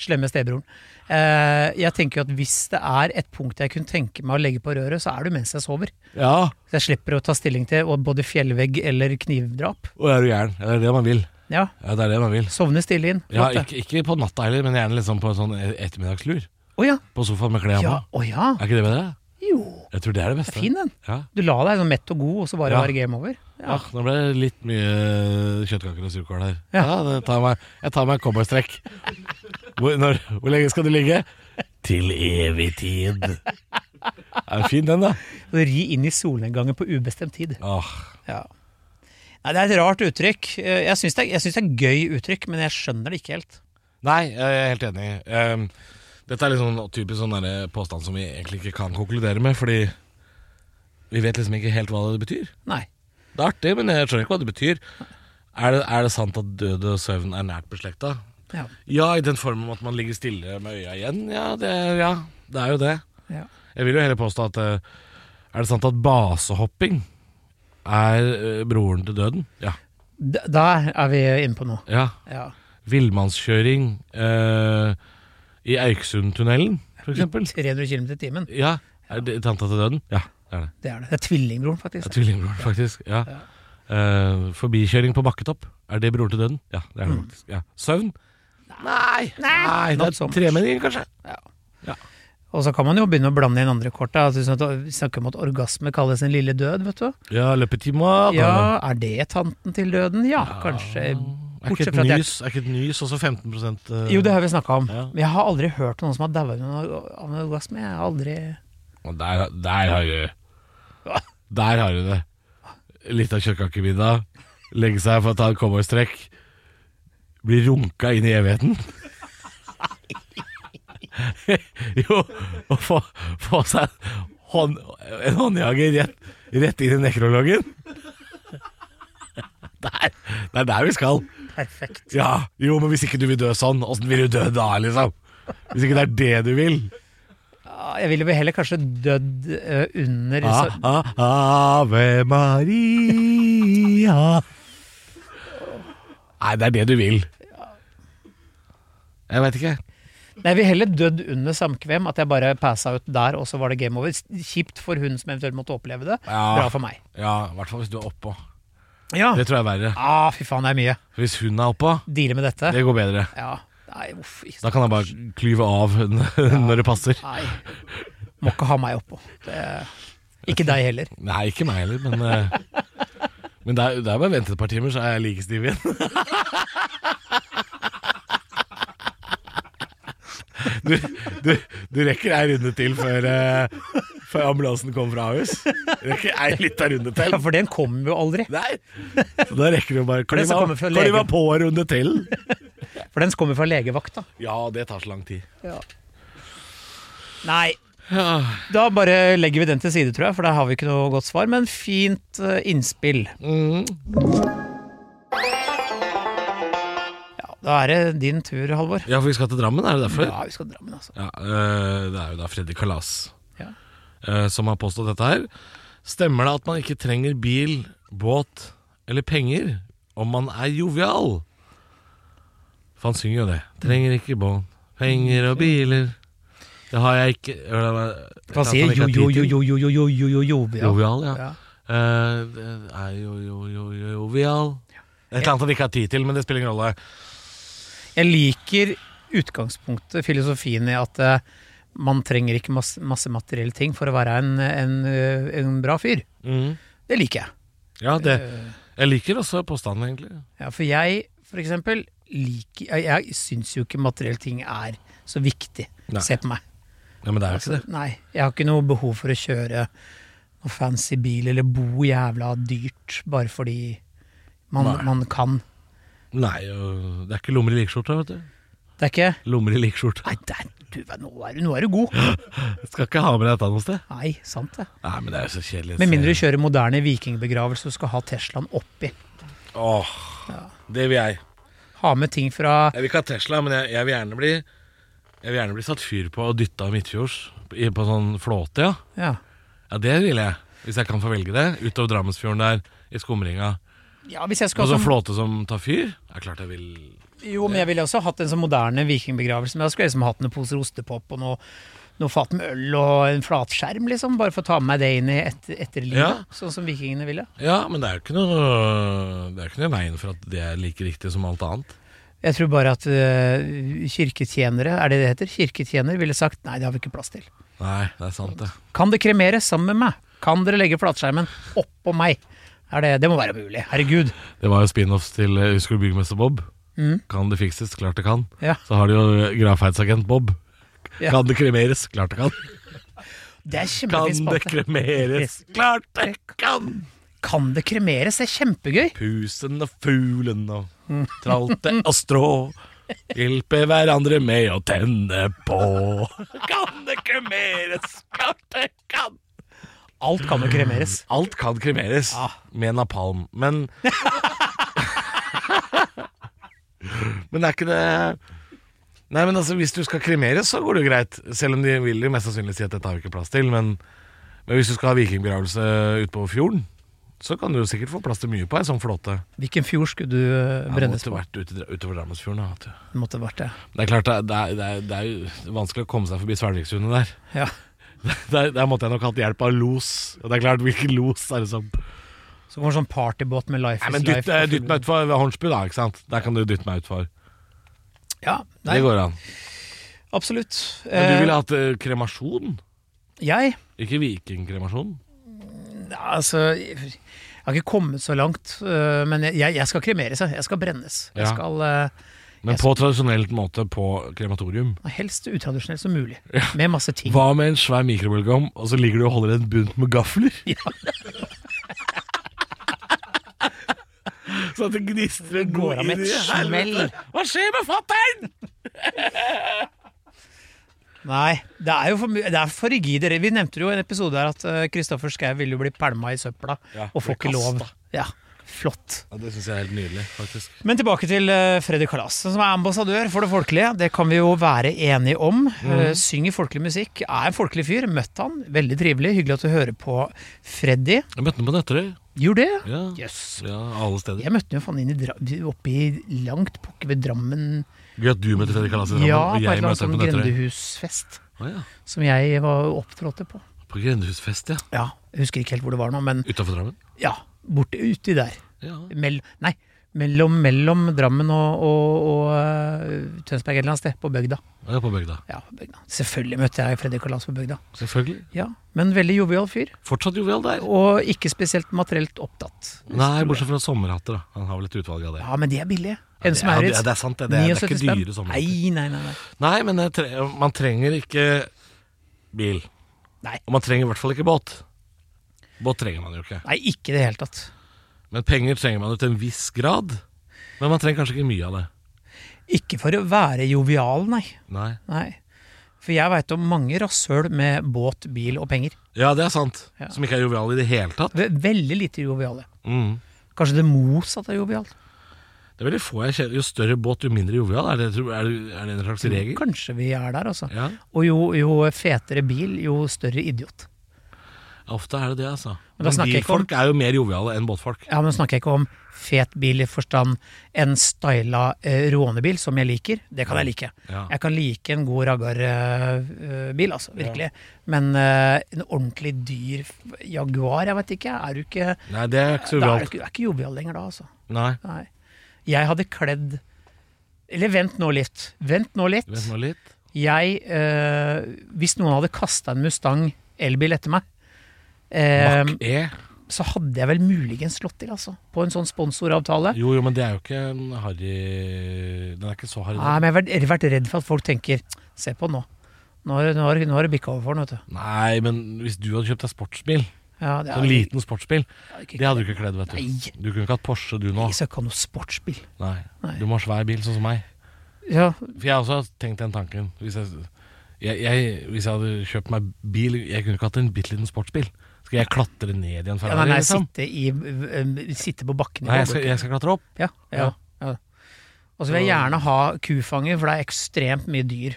Slemme stebroren. Eh, jeg tenker jo at hvis det er et punkt jeg kunne tenke meg å legge på røret, så er det mens jeg sover.
Ja,
Så jeg slipper å ta stilling til og både fjellvegg eller knivdrap.
og er du gæren. Ja, Det er det man vil.
Ja,
Ja, det er det man vil.
Sovne stille inn.
Ja,
Flott, det.
ikke, ikke på natta heller, men gjerne liksom på en sånn ettermiddagslur.
Å ja.
På sofaen med klærne
ja. Å
på.
ja.
Er ikke det bedre?
Jo.
Jeg tror det er det beste.
Fin den.
Ja.
Du la deg sånn mett og god, og så bare
Ja.
var det game over. Ja.
Ah, nå ble det litt mye eh, kjøttkaker og surkål her. Ja,
Ja.
det tar meg, Jeg tar meg en cowboystrekk. Hvor, når- hvor lenge skal du ligge? Til evig tid. Er det fin den, da. Ah.
Ri inn i solnedgangen på ubestemt tid.
Åh,
Ja. Nei, det er et rart uttrykk. Eh, Jeg syns det, er- jeg syns det er gøy uttrykk, men jeg skjønner det ikke helt.
Nei, jeg er helt enig. Ehm, dette er litt sånn typisk sånn derre påstand som vi egentlig ikke kan konkludere med, fordi vi vet liksom ikke helt hva det betyr.
Nei.
Det er artig, men jeg skjønner ikke hva det betyr. Er det, er det sant at død og søvn er nært beslekta?
Ja.
Ja, i den formen at man ligger stille med øya igjen. Ja, det, ja, det er jo det.
Ja.
Jeg vil jo heller påstå at eh, Er det sant at basehopping er eh, broren til døden? Ja.
D- Der er vi inne på noe.
ja.
Ja.
Villmannskjøring eh, i Eiksundtunnelen, for eksempel.
300 km i timen.
Ja. Er det tanta til døden? Ja, det er det.
Det er det. Det er tvillingbroren,
det er
faktisk.
Tvillingbroren, faktisk. Ja. Eh, forbikjøring på bakketopp, er det broren til døden? Ja, det er det faktisk. Ja. Søvn? Nei. Nei, det
not so
er
much.
tremenninger, kanskje.
Og så kan man jo begynne å blande inn andre kort. da. Altså, sånn at Vi snakker om at orgasme kalles en lille død, vet du.
Ja, løpetimer.
Ja, Er det tanten til døden? Ja, kanskje.
Er ikke
Bortsett
et
fra at jeg-
nys, er ikke et nys også 15 eh,
Jo, det har vi snakka om.
Ja.
Men jeg har aldri hørt noen som har daua av en orgasme. Jeg har aldri
Og der, der har du Der har du det. Litt av kjøttkakemiddag, legge seg for å ta en cowboystrekk, bli runka inn i evigheten. (laughs) jo, å få, få seg en hånd, en håndjager rett, rett inn i nekrologen. (laughs) Der, det er der vi skal.
Perfekt.
Ja, jo, men hvis ikke du vil dø sånn, åssen vil du dø da, liksom? Hvis ikke det er det du vil?
Ja, Jeg ville vel heller kanskje dødd eh, under
Ah,
så,
ah, Ave Maria Nei, det er det du vil. Jeg veit ikke.
Nei, jeg ville heller dødd under samkvem. At jeg bare passa ut der, og så var det game over. Kjipt for hun som eventuelt måtte oppleve det.
Ja.
Bra for meg.
Ja, I hvert fall hvis du er oppå.
Ja.
Det tror jeg er verre.
Ah, fy faen, det er mye.
Hvis hun er oppå,
Deale med dette.
det går bedre.
Ja. Nei, uff. ikke
Da kan jeg bare klyve av (laughs) når det passer.
Nei. Må ikke ha meg oppå. Det, ikke deg heller.
Nei, ikke meg heller, men eh, Men det er, det er bare å vente et par timer, så er jeg like stiv igjen. Du, du, du rekker ei runde til før, eh, før ambulansen kommer fra Ahus. Rekker ei lita runde til.
Ja, for den kommer jo aldri.
Nei! Så da rekker du bare
det som kommer fra
Kan du
legen.
være på en runde til?
For den kommer fra legevakta.
Ja, det tar så lang tid.
Nei. Da bare legger vi den til side, tror jeg, for der har vi ikke noe godt svar. Men fint eh, innspill. Ja, da er det din tur, Halvor.
Ja, for vi skal til Drammen, er det derfor?
Ja, vi skal til Drammen, altså.
Ja, eh, Det er jo da Freddy Kalas
Ja.
eh, som har påstått dette her. Stemmer det at man ikke trenger bil, båt eller penger om man er jovial? For han synger jo det. Trenger ikke båt, penger og biler. Det har jeg ikke
Han
Han
sier jo, jo, jo, jo, jo, jo, jo, jo, jo, jo, ja.
Jovial, ja.
Ja.
Eh, det er jo, jo, jo, jo, jovial Et eller annet han ikke har tid til, men det spiller ingen rolle.
Jeg liker utgangspunktet, filosofien i at eh, man trenger ikke masse, masse materielle ting for å være en, en, eh, en bra fyr. Det liker jeg.
Ja, det Jeg liker også påstanden, egentlig.
Ja, for jeg, for eksempel, liker Jeg, jeg syns jo ikke materielle ting er så viktig.
Nei.
Se på meg.
Ja, Men det er jo ikke det.
Nei, jeg har ikke noe behov for å kjøre noe fancy bil eller bo jævla dyrt bare fordi man,
Nei.
man kan.
Nei, øh, det er ikke lommer i likskjorta, vet du.
Det er ikke
Lommer i likskjorta.
Nei, der, du, nå, er du, nå er du god.
Skal ikke ha med deg dette noe sted.
Nei, sant det.
Nei, men det er jo så kjedelig.
Med mindre du kjører moderne vikingbegravelse og skal ha Teslaen oppi.
Åh, det vil jeg.
Ha med ting fra
Jeg vil ikke ha Tesla, men jeg, jeg vil gjerne bli Jeg vil gjerne bli satt fyr på og dytta midtfjords i- på sånn flåte, ja.
Ja,
Ja, det vil jeg. Hvis jeg kan få velge det. Utover Drammensfjorden der, i skumringa.
ja hvis jeg skal sånn-
Og så
som-
flåte som tar fyr. Det er klart jeg vil
Jo, men jeg ville også hatt en sånn moderne vikingbegravelse. Men da skulle jeg liksom hatt noen poser ostepop og noe, noe fat med øl og en flatskjerm, liksom. Bare for å ta med meg det inn i etter, etterlivet,
Ja.
sånn som vikingene ville.
Ja, men det er jo ikke noe Det er jo ikke noe i veien for at det er like riktig som alt annet.
Jeg tror bare at øh, kirketjenere, er det det heter? Kirketjener ville sagt nei, det har vi ikke plass til.
Nei, det er sant, det.
Kan det kremeres sammen med meg? Kan dere legge flatskjermen oppå meg? Er det, det må være mulig. Herregud.
Det var jo spin-offs til eh, Husker du Byggmester Bob?
Mm.
Kan det fikses? Klart det kan.
Ja.
Så har du jo eh, gravferdsagent Bob.
Ja.
Kan det kremeres? Klart (laughs) det kan.
Det er kjempefin
Kan det
spalte.
kremeres? Klart det kan!
Kan det kremeres? Det er kjempegøy.
Pusen og fuglen og (laughs) tralte og strå. Hjelpe hverandre med å tenne på. Kan det kremeres? Klart det kan!
Alt kan jo kremeres.
Alt kan kremeres med napalm, men Men er ikke det Nei, men altså, hvis du skal kremeres, så går det jo greit. Selv om de vil jo mest sannsynlig si at dette har vi ikke plass til. Men, men hvis du skal ha vikingbegravelse ute på fjorden, så kan du jo sikkert få plass til mye på ei sånn flåte.
Hvilken fjord skulle du eh,
Jeg
brennes
måtte
på?
vært ute, utover Drammensfjorden. da, vet du.
Det måtte vært det.
Det er klart, det er, det er- det er, det er jo vanskelig å komme seg forbi Svelvikssundet der. (laughs)
Ja.
der. Der måtte jeg nok hatt hjelp av los. Og det er klart, hvilken los er det som
Så kommer sånn partybåt med Life
Nei,
is
men
Life.
dytt, eh, dytt meg utfor Hornsbu, da. ikke sant? Der kan du dytte meg utfor.
Ja, nei,
Det går an.
absolutt.
Men du
Eh,
ville hatt eh, kremasjon?
Jeg?
Ikke vikingkremasjon?
Ja, altså Jeg har ikke kommet så langt, eh, men jeg, jeg skal kremeres, jeg. Jeg skal brennes. Jeg
Ja.
skal eh,
Men på tradisjonelt måte på krematorium.
helst utradisjonelt som mulig. Med masse ting.
Hva med en svær mikrobølgeovn, og så ligger du og holder en bunt med
(laughs)
gafler? (laughs) så at det gnistrer en
Går av med et smell.
Hva skjer med fatter'n? (laughs)
Nei, det er jo for, mye- det er for rigide. regler. Vi nevnte jo i en episode her at eh, Kristoffer Schau ville jo bli pælma i søpla
Ja,
og får
ble
ikke lov.
kastet.
Ja, flott.
Ja, det syns jeg er helt nydelig, faktisk.
Men tilbake til eh, Freddy Kalas, som er ambassadør for det folkelige. Det kan vi jo være enige om.
Mhm.
Eh, Synger folkelig musikk, er en folkelig fyr. Møtt han, veldig trivelig. Hyggelig at du hører på Freddy.
Jeg møtte ham på Nøtterøy.
Gjorde det?
Ja.
Jøss.
ja, alle steder.
Jeg møtte han jo faen inn i Dra oppe i langt pokker ved Drammen.
Gøy at du møter Fredrik Kalas i Drammen,
Ja, på
og
et
jeg
eller annet
møter ham
sånn
på Nøtterøy.
grendehusfest
Å ja.
som jeg var opptrådte på.
På Grendehusfest, ja.
Ja, jeg husker ikke helt hvor det var nå, men
Utafor Drammen?
Ja, borte uti der.
Ja.
Mell nei, mellom, mellom Drammen og, og, og eh, Tønsberg et eller annet sted, på bygda.
ja, på bygda.
Ja, på bygda. Selvfølgelig møtte jeg Fredrik Kalas på bygda.
Selvfølgelig.
Ja, Men veldig jovial fyr,
Fortsatt jovial der.
og ikke spesielt materielt opptatt.
Nei, bortsett fra sommerhatter, da. Han har vel et utvalg av det.
Ja, men de er billige.
det
En som er
er- det er sant, det. Det er- det er ikke
79 spenn.
dyre sommerhatter.
Nei, nei, nei. nei.
Nei, men jeg tre man trenger ikke bil.
Nei.
Og man trenger i hvert fall ikke båt. Båt trenger man jo ikke.
nei, ikke i det hele tatt.
Men penger trenger man jo til en viss grad. Men man trenger kanskje ikke mye av det.
Ikke for å være jovial, nei.
Nei.
nei. For jeg veit om mange rasshøl med båt, bil og penger.
Ja, det er sant.
Ja.
Som ikke er jovial i det hele tatt.
Ve- Veldig lite joviale.
Mm.
Kanskje det motsatte er jovialt.
Det er veldig få jeg kjenner. Jo større båt, jo mindre jovial. Er det, er det, er det en
Mm.
slags regel?
Kanskje vi er der, altså.
Ja.
Og jo, jo fetere bil, jo større idiot.
Ofte er det det, altså.
Men da
Men
snakker jeg ikke om-
bilfolk er jo mer joviale enn båtfolk.
Ja, men nå snakker jeg ikke om fet bil i forstand en styla eh, rånebil, som jeg liker. Det kan jeg like.
Ja.
Jeg kan like en god raggarbil, altså. Virkelig. Men eh, en ordentlig dyr Jaguar, jeg veit ikke. Er du ikke
Nei, det er ikke
Da
så
er du
jovialt.
ikke, du er ikke jovial lenger da, altså.
Nei.
Nei. Jeg hadde kledd Eller vent nå litt. Vent nå litt.
Vent nå litt.
jeg eh, Hvis noen hadde kasta en Mustang elbil etter meg, eh,
Mach E.
så hadde jeg vel muligens slått til, altså. På en sånn sponsoravtale.
Jo, jo, men det er jo ikke en harry Den er ikke så harry.
Nei, Ah, men jeg har vært- jeg har vært redd for at folk tenker Se på nå. Nå har nå har- nå har det bikka over for den, vet du.
Nei, men hvis du hadde kjøpt deg sportsbil,
Ja, det
sånn liten sportsbil,
er ikke-
det hadde du ikke kledd, vet du.
Nei.
Du kunne ikke hatt Porsche, du nå.
Jeg skal ikke ha noe sportsbil.
Nei.
Nei.
Du må ha svær bil, sånn som meg.
Ja,
For jeg har også tenkt den tanken. Hvis jeg, jeg, jeg, hvis jeg hadde kjøpt meg bil Jeg kunne ikke hatt en bitte liten sportsbil. Skal jeg klatre ned i en
ja nei,
Ferrari,
nei
liksom?
sitte, i, eh, sitte på bakken i
Nei, jeg skal,
Volvo.
jeg skal klatre opp.
Ja, ja, ja. Og så vil jeg gjerne ha kufanger, for det er ekstremt mye dyr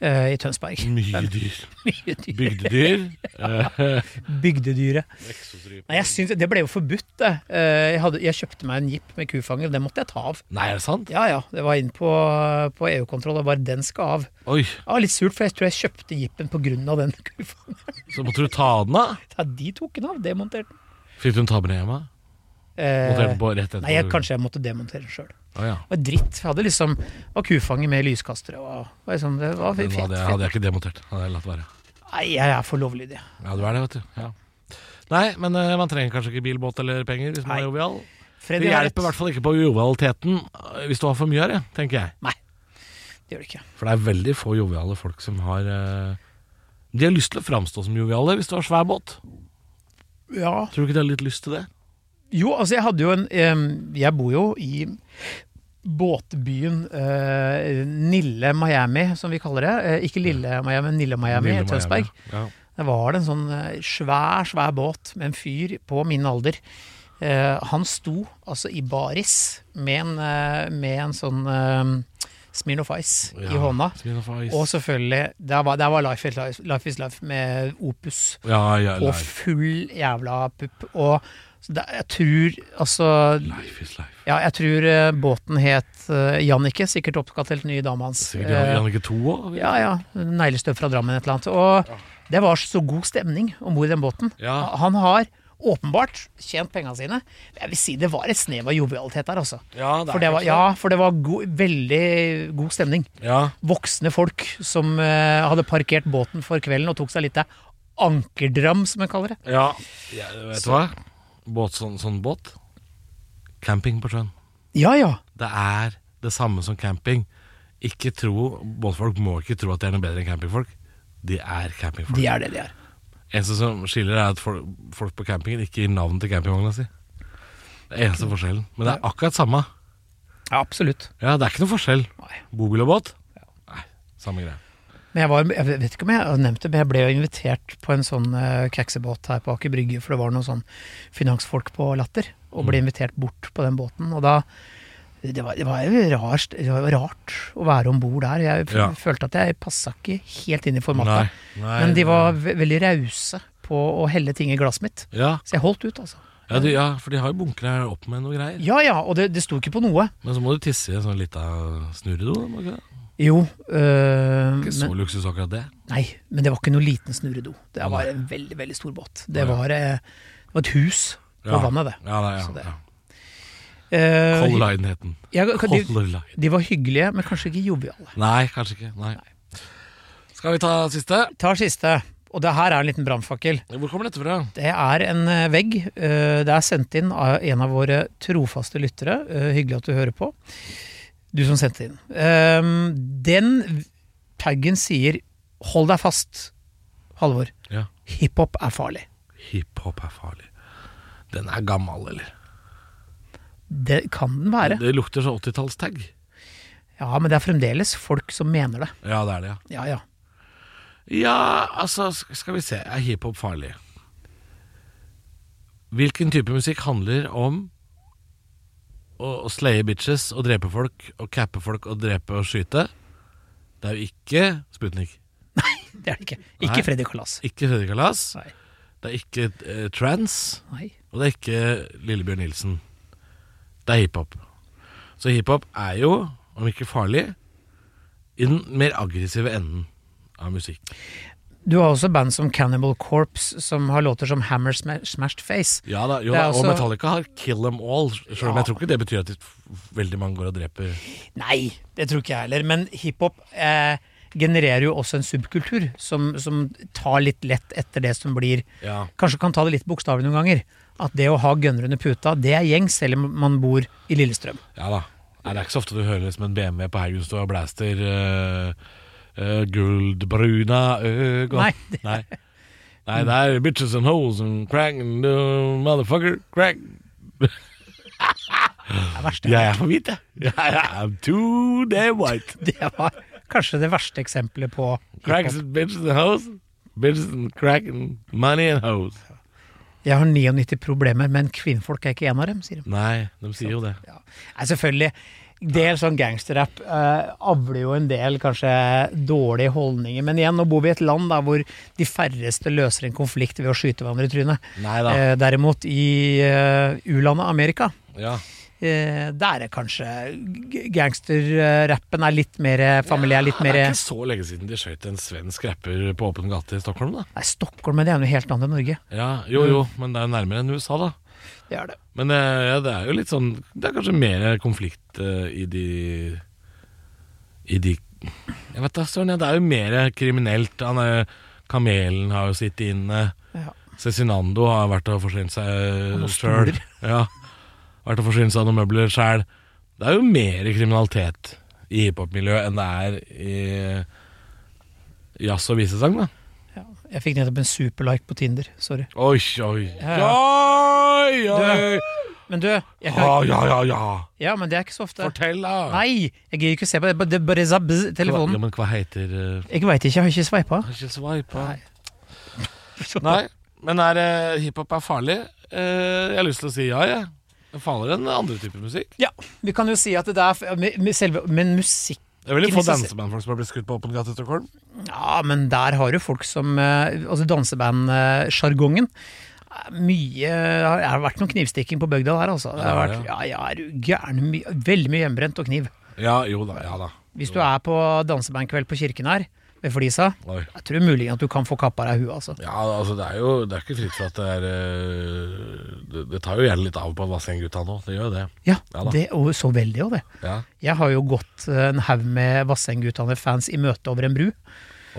eh, i Tønsberg.
Mye dyr.
Mye dyr.
Bygdedyr.
Bygdedyret. Nei, jeg syns, det ble jo forbudt, det. Eh, Jeg, hadde, jeg kjøpte meg en jeep med kufanger, og den måtte jeg ta av.
Nei, er det sant?
Ja ja, det var inn på, øh, på EU-kontroll, og bare den skal av.
Oi,
Det var litt surt, for jeg tror jeg kjøpte jeepen pga. den (laughs) kufangeren.
så måtte du ta den av?
Ja, de tok den av, demonterte den.
Fikk du en tabbe ned hjemme? Monterte
Eh,
den på rett etterpå?
nei, jeg, kanskje jeg måtte demontere den sjøl. Det
Å, ja.
var dritt. Jeg hadde liksom det var kufanger med lyskastere og var liksom, Det var
Den
fet.
hadde jeg, hadde jeg ikke demontert. Hadde jeg latt være.
Nei, jeg er for lovlydig.
Ja, du er det, vet du. Ja. Nei, men eh, man trenger kanskje ikke bil, båt eller penger hvis man
Nei.
er jovial. Det
Freddy har rett.
hjelper i hvert fall ikke på jovialiteten eh, hvis du har for mye av det, tenker jeg.
Det gjør det ikke.
For det er veldig få joviale folk som har eh, De har lyst til å framstå som joviale hvis du har svær båt.
Ja.
Tror du ikke de har litt lyst til det?
Jo, altså jeg hadde jo en em, Jeg bor jo i båtbyen eh, Nille Miami, som vi kaller det. Eh, ikke Lille Miami, men Nille Miami i
Lille
Tønsberg.
Ja.
Der var det en sånn eh, svær, svær båt med en fyr på min alder. Eh, han sto altså i baris med en, eh, med en sånn uh, Smirnoff Ice i
Ja,
hånda.
Smirnoff Ice.
Og selvfølgelig, der var, der var life, is life, life is Life med Opus
ja, ja,
på
life,
full jævla pupp. Og så det, jeg tror altså
life is life.
ja, jeg tror eh, båten het eh, Jannicke, sikkert oppkalt helt ny dame hans.
Sikkert
Eh,
Jannicke 2 òg.
ja, ja. Neglestøv fra Drammen, et eller annet. Og det var så god stemning om bord i den båten.
Ja.
Han har åpenbart tjent pengene sine. Jeg vil si det var et snev av jovialitet der, altså.
Ja,
For det var, ja, for det var go veldig god stemning.
ja.
Voksne folk som eh, hadde parkert båten for kvelden og tok seg litt av ankerdram, som en kaller det.
Ja, ja vet du hva? Båt, sånn, sånn båt Camping på sjøen
Ja, ja.
Det er det samme som camping Ikke tro, båtfolk må ikke tro at de er noe bedre enn campingfolk De er campingfolk
De er det de er.
Eneste som skiller er at folk, folk på campingen ikke gir navn til campingvogna si Det er eneste forskjellen Men det er akkurat samme
Ja, absolutt.
Ja, det er ikke noe forskjell
Nei.
Bobil og båt Nei, samme greie
Men jeg, var, jeg vet ikke om jeg har nevnt det, men jeg ble jo invitert på en sånn eh, keksebåt her på Aker Brygge, for det var noen sånn finansfolk på Latter, og
Mm.
ble invitert bort på den båten. Og da Det var, det var jo rart, det var jo rart å være om bord der. Jeg f
Ja.
følte at jeg passa ikke helt inn i
Nei,
formatet.
nei
men de
nei.
var ve veldig rause på å helle ting i glasset mitt.
ja,
Så jeg holdt ut, altså.
ja, de, ja, for de har jo bunker her opp med noe greier
Ja ja, og det, det sto ikke på noe.
Men så må du tisse i en sånn liten snurredo må du ikke det?
Jo. øh,
Ikke
men-
så luksus akkurat det.
Nei, men det var ikke noe liten snurredo. Det
Å,
var
nei.
en veldig, veldig stor båt. Det
Å, ja.
var, eh, det var et hus på
Ja.
vannet, det.
Ja, nei, ja,
Så det-
ja.
Eh,
Color Line het den.
jeg, de,
Color Line.
de var hyggelige, men kanskje ikke joviale.
Nei, kanskje ikke. Nei. Skal vi ta siste?
Tar siste, og det her er en liten brannfakkel.
Hvor kommer dette fra?
Det er en eh, vegg. Eh, Det er sendt inn av en av våre trofaste lyttere. Eh, Hyggelig at du hører på. Du som sendte inn. Eh, Den taggen sier 'hold deg fast', Halvor.
Ja.
Hiphop er farlig.
Hiphop er farlig. Den er gammel, eller?
Det kan den være.
Det lukter sånn så 80-tallstag.
Ja, men det er fremdeles folk som mener det.
Ja, det er det, ja.
Ja, ja.
Ja, altså, sk- skal vi se. Er hiphop farlig? Hvilken type musikk handler om å, å slaye bitches og drepe folk, og cappe folk og drepe og skyte? Det er jo ikke Sputnik.
Det er det ikke. Ikke
Nei.
Freddy Kalas.
Ikke Fredrik Kalas.
Nei.
Det er ikke eh, trans.
Nei.
Og det er ikke Lillebjørn Nilsen. Det er hiphop. Så hiphop er jo, om ikke farlig, i den mer aggressive enden av musikk.
Du har også band som Cannibal Corpse, som har låter som Hammer Sma- Smashed Face.
Ja da, jo,
Det er
da
også-
Og Metallica har 'Kill Them All', sjøl om jeg tror ikke det betyr at de f- veldig mange går og dreper
Nei, det tror ikke jeg heller. Men hiphop eh, genererer jo også en subkultur som, som tar litt lett etter det som blir
Ja.
Kanskje kan ta det litt bokstavelig noen ganger. At det å ha gunner under puta, det er gjengs, selv om man bor i Lillestrøm. (laughs)
Ja da. Nei, det er ikke så ofte du hører liksom en BMW på haugen stå og blaster uh, gullbruna øgon.
Nei.
(laughs) Nei. Nei, det er bitches and hoes and crack and uh, motherfucker crack.
Det er verst.
Jeg er for hvit, jeg. Jeg er too damn white.
Det var kanskje det verste eksempelet på
Cracks and bitches and hoes. Bitches and crack and money and hoes.
Jeg har 99 problemer, men kvinnfolk er ikke en av dem, sier de.
Nei, de sier jo det.
Ja. Nei, selvfølgelig. En del sånn gangsterrapp eh, avler jo en del kanskje dårlige holdninger. Men igjen, nå bor vi i et land da, hvor de færreste løser en konflikt ved å skyte hverandre i trynet.
Nei da.
Eh, derimot i eh, u-landet Amerika,
Ja.
eh, der er kanskje g- gangsterrappen er litt mer familiær, litt mer
Det er ikke så lenge siden de skjøt en svensk rapper på åpen gate i Stockholm, da.
Nei, Stockholm men det er noe helt annet enn Norge.
Ja, jo jo,
Eh.
men det er jo nærmere enn USA, da.
Det er det.
Men eh, ja, det er jo litt sånn Det er kanskje mer konflikt eh, i de I de Jeg vet da, søren. ja, Det er jo mer kriminelt. Han er, kamelen har jo sittet inne.
Ja.
Cezinando har vært og forsynt seg
noen
sjøl.
stoler.
(laughs) Ja. Vært og forsynt seg av noen møbler sjæl. Det er jo mer kriminalitet i hiphop-miljøet enn det er i jazz og visesang, da.
Ja. Jeg fikk nettopp en superlike på Tinder. Sorry.
Oi, oi.
Ja,
Oi, oi.
Men du, jeg
Ja,
hører
Ah, ja, ja, ja.
Ja, men det er ikke så ofte.
Fortell, da.
Nei, jeg gidder ikke å se på det. Bare- Det er bare zabb-
Ja,
telefonen.
men hva heter eh,
Jeg veit ikke, jeg har ikke sveipa.
Har ikke sveipa. (laughs) Nei, men er eh, hiphop er farlig? Eh, jeg har lyst til å si ja, jeg. Det er farligere enn andre typer musikk.
Ja, vi kan jo si at det der med- med selve, Men musikk
Det er veldig
Ikke
få
lyst til å si-
dansebandfolk som har blitt skutt på åpen gate i Stockholm.
Ja, men der har du folk som eh, Altså dansebandsjargongen. Mye Det har vært noen knivstikking på bygda der, altså. Det har
Ja,
vært, ja, ja, er du gæren. My, veldig mye hjemmebrent og kniv.
Ja, jo da, ja da.
Hvis du er på dansebandkveld på kirken her, ved Flisa,
Oi.
jeg tror mulig at du kan få kappa deg huet, altså.
Ja, altså det er jo det er ikke fritt for at det er eh, det, det tar jo gjerne litt av på Vassendgutta nå. Det gjør jo det.
Ja,
Ja da.
det, og så veldig òg, det.
Ja.
Jeg har jo gått eh, en haug med Vassendgutane-fans i møte over en bru.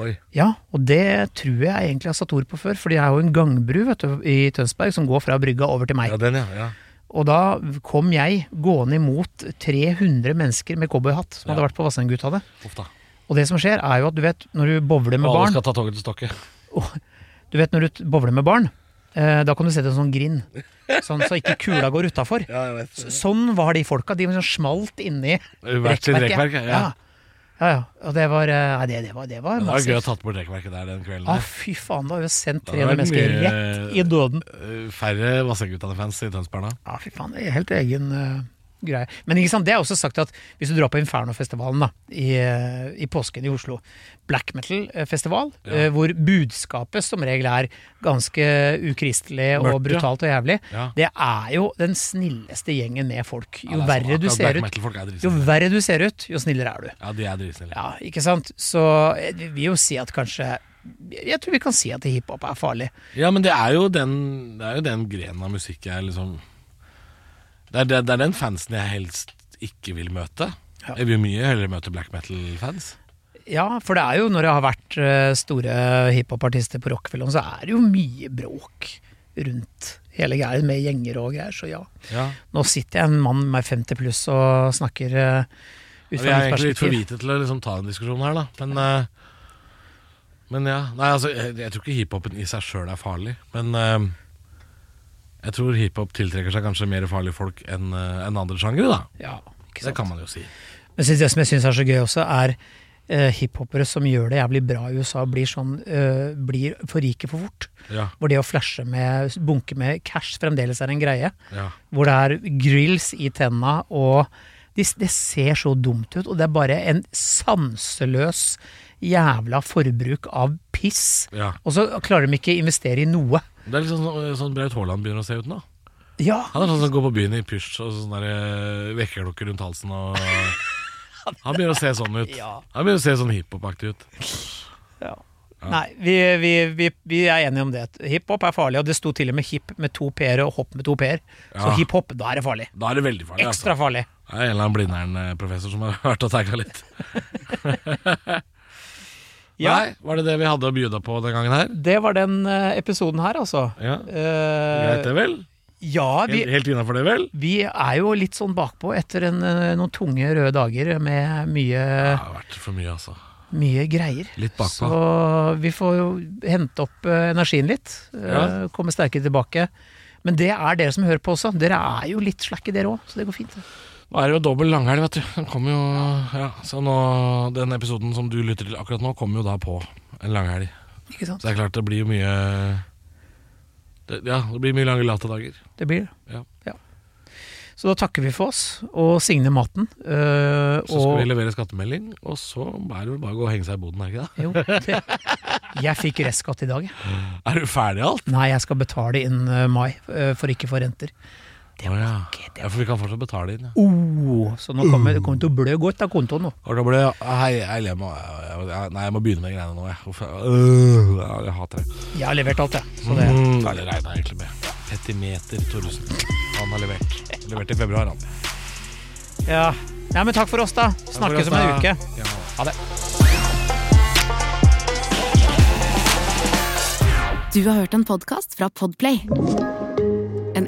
Oi.
Ja, og det tror jeg egentlig jeg har satt ord på før, for det er jo en gangbru vet du, i Tønsberg som går fra brygga over til meg.
Ja, den, ja. ja.
Og da kom jeg gående imot 300 mennesker med cowboyhatt som hadde
Ja.
vært på Vassendgutane.
Uff da.
Og det som skjer, er jo at du vet når du bowler med
Og alle
barn,
skal ta toget til Stokke.
du vet når du t- bowler med barn eh, da kan du sette en sånn grind, sånn så ikke kula går utafor.
Ja, jeg vet.
Sånn var de folka. De var sånn smalt inni
Hvert sitt rekkverk, ja.
ja. Ja, ja. Og det var eh, Nei, det, det var, det var
Det var gøy å
massivt.
tatt bort rekkverket der den kvelden.
Ah, fy faen, da har vi sendt
Det var
300 mennesker
mye-
rett i døden.
Eh, Færre Vassendgutane-fans i Tønsberg nå.
Ja, fy faen, det er helt egen eh, greie. Men ikke sant, det er også sagt at hvis du drar på Inferno-festivalen da, i, eh, i påsken i Oslo, black metal-festival, eh, hvor budskapet som regel er ganske ukristelig og
Mørkt, ja.
brutalt og jævlig,
Ja.
det er jo den snilleste gjengen med folk. Jo
Ja, det er sånn.
verre du
Akkurat
ser
black
ut,
metal-folk er
jo
dritsnille.
verre du ser ut, jo snillere er du.
Ja, de er dritsnille.
Ja, ikke sant? Så eh, vi vil jo si at kanskje Jeg tror vi kan si at hiphop er farlig.
Ja, men det er jo den, det er jo den grenen av musikk jeg liksom det er, det, det er den fansen jeg helst ikke vil møte.
Ja.
Jeg vil jo mye heller møte black metal-fans.
Ja, for det er jo når det har vært eh, store hiphopartister på Rockefellon, så er det jo mye bråk rundt hele greia med gjenger og greier, så ja.
Ja.
Nå sitter jeg en mann med 50 pluss og snakker eh, ut
Vi
fra mitt
er egentlig litt for
perspektiv.
hvite til å liksom ta en diskusjon her, da. Men, eh, men ja. Nei, altså, jeg, jeg tror ikke hiphopen i seg sjøl er farlig. Men eh, jeg tror hiphop tiltrekker seg kanskje mer farlige folk enn eh, enn andre sjangere, da.
Ja, ikke
Det
sant?
kan man jo si.
Men det som jeg syns er så gøy også, er eh, hiphopere som gjør det jævlig bra i USA, blir, sånn, eh, blir for rike for fort.
Ja,
Hvor det å flashe med bunke med cash fremdeles er en greie.
ja.
hvor det er grills i tenna, og det det ser så dumt ut. Og det er bare en sanseløs jævla forbruk av piss.
ja.
Og så klarer de ikke investere i noe.
Det er litt sånn, sånn Braut Haaland begynner å se ut nå.
Ja,
Han er sånn som går på byen i pysj og sånn der, eh, vekkerklokke rundt halsen
(laughs)
og Han begynner å se sånn ut.
Ja.
Han begynner å se sånn hiphopaktig ut.
Nei, vi, vi, vi, vi er enige om det. Hiphop er farlig, og det sto til og med hip med to p-er og hopp med to p-er. Så
Ja.
hiphop, da er det farlig.
Da er det veldig farlig.
Ekstra
Altså.
farlig.
Det er en eller annen Blindern-professor som har (laughs) vært og tagga litt.
Ja,
Nei, var det det vi hadde å bjuda på den gangen her?
det var den eh, episoden her, altså.
Ja.
Eh,
Greit, det vel?
ja, vi,
Helt, helt innafor det, vel?
Vi er jo litt sånn bakpå etter en, eh, noen tunge røde dager med mye,
Det har vært for mye, altså.
mye greier.
Litt bakpå.
Så vi får jo hente opp eh, energien litt, eh,
Ja.
komme sterkere tilbake. Men det er dere som hører på også. Dere er jo litt slakke dere òg, så det går fint. det.
Nå er det jo dobbel langhelg, vet du. Den kommer jo Ja, så nå Den episoden som du lytter til akkurat nå, kommer jo da på en langhelg.
Ikke sant?
Så det er klart det blir jo mye det, Ja, det blir mye lange late dager.
Det blir det.
Ja.
Så da takker vi for oss, og Signe Matten. eh,
Så skal
og-
vi levere skattemelding, og så er det vel bare å gå og henge seg i boden, er det ikke det?
(laughs) jo, det. Jeg fikk restskatt i dag. jeg.
Er du ferdig alt?
Nei, jeg skal betale innen eh, mai, eh, for ikke få renter. Det
Å
var
ja.
ikke det.
ja, for vi kan fortsatt betale inn. Ja.
Oh, så nå kommer det kommer til å blø godt av kontoen nå.
Og da ble det Hei, jeg, jeg, må, jeg, jeg, nei, jeg må begynne med de greiene nå, jeg. Uff, jeg- øh, ja, jeg hater det.
Jeg har levert alt, jeg. Så det.
Mm, nei, det regna egentlig med. Petimeter Thoresen. Han har levert. Levert i februar, han.
Ja. Nei, men takk for oss, da. Snakkes om en
oss, da.
uke.
Ja.
Ha det.
Du har hørt en podcast fra Podplay En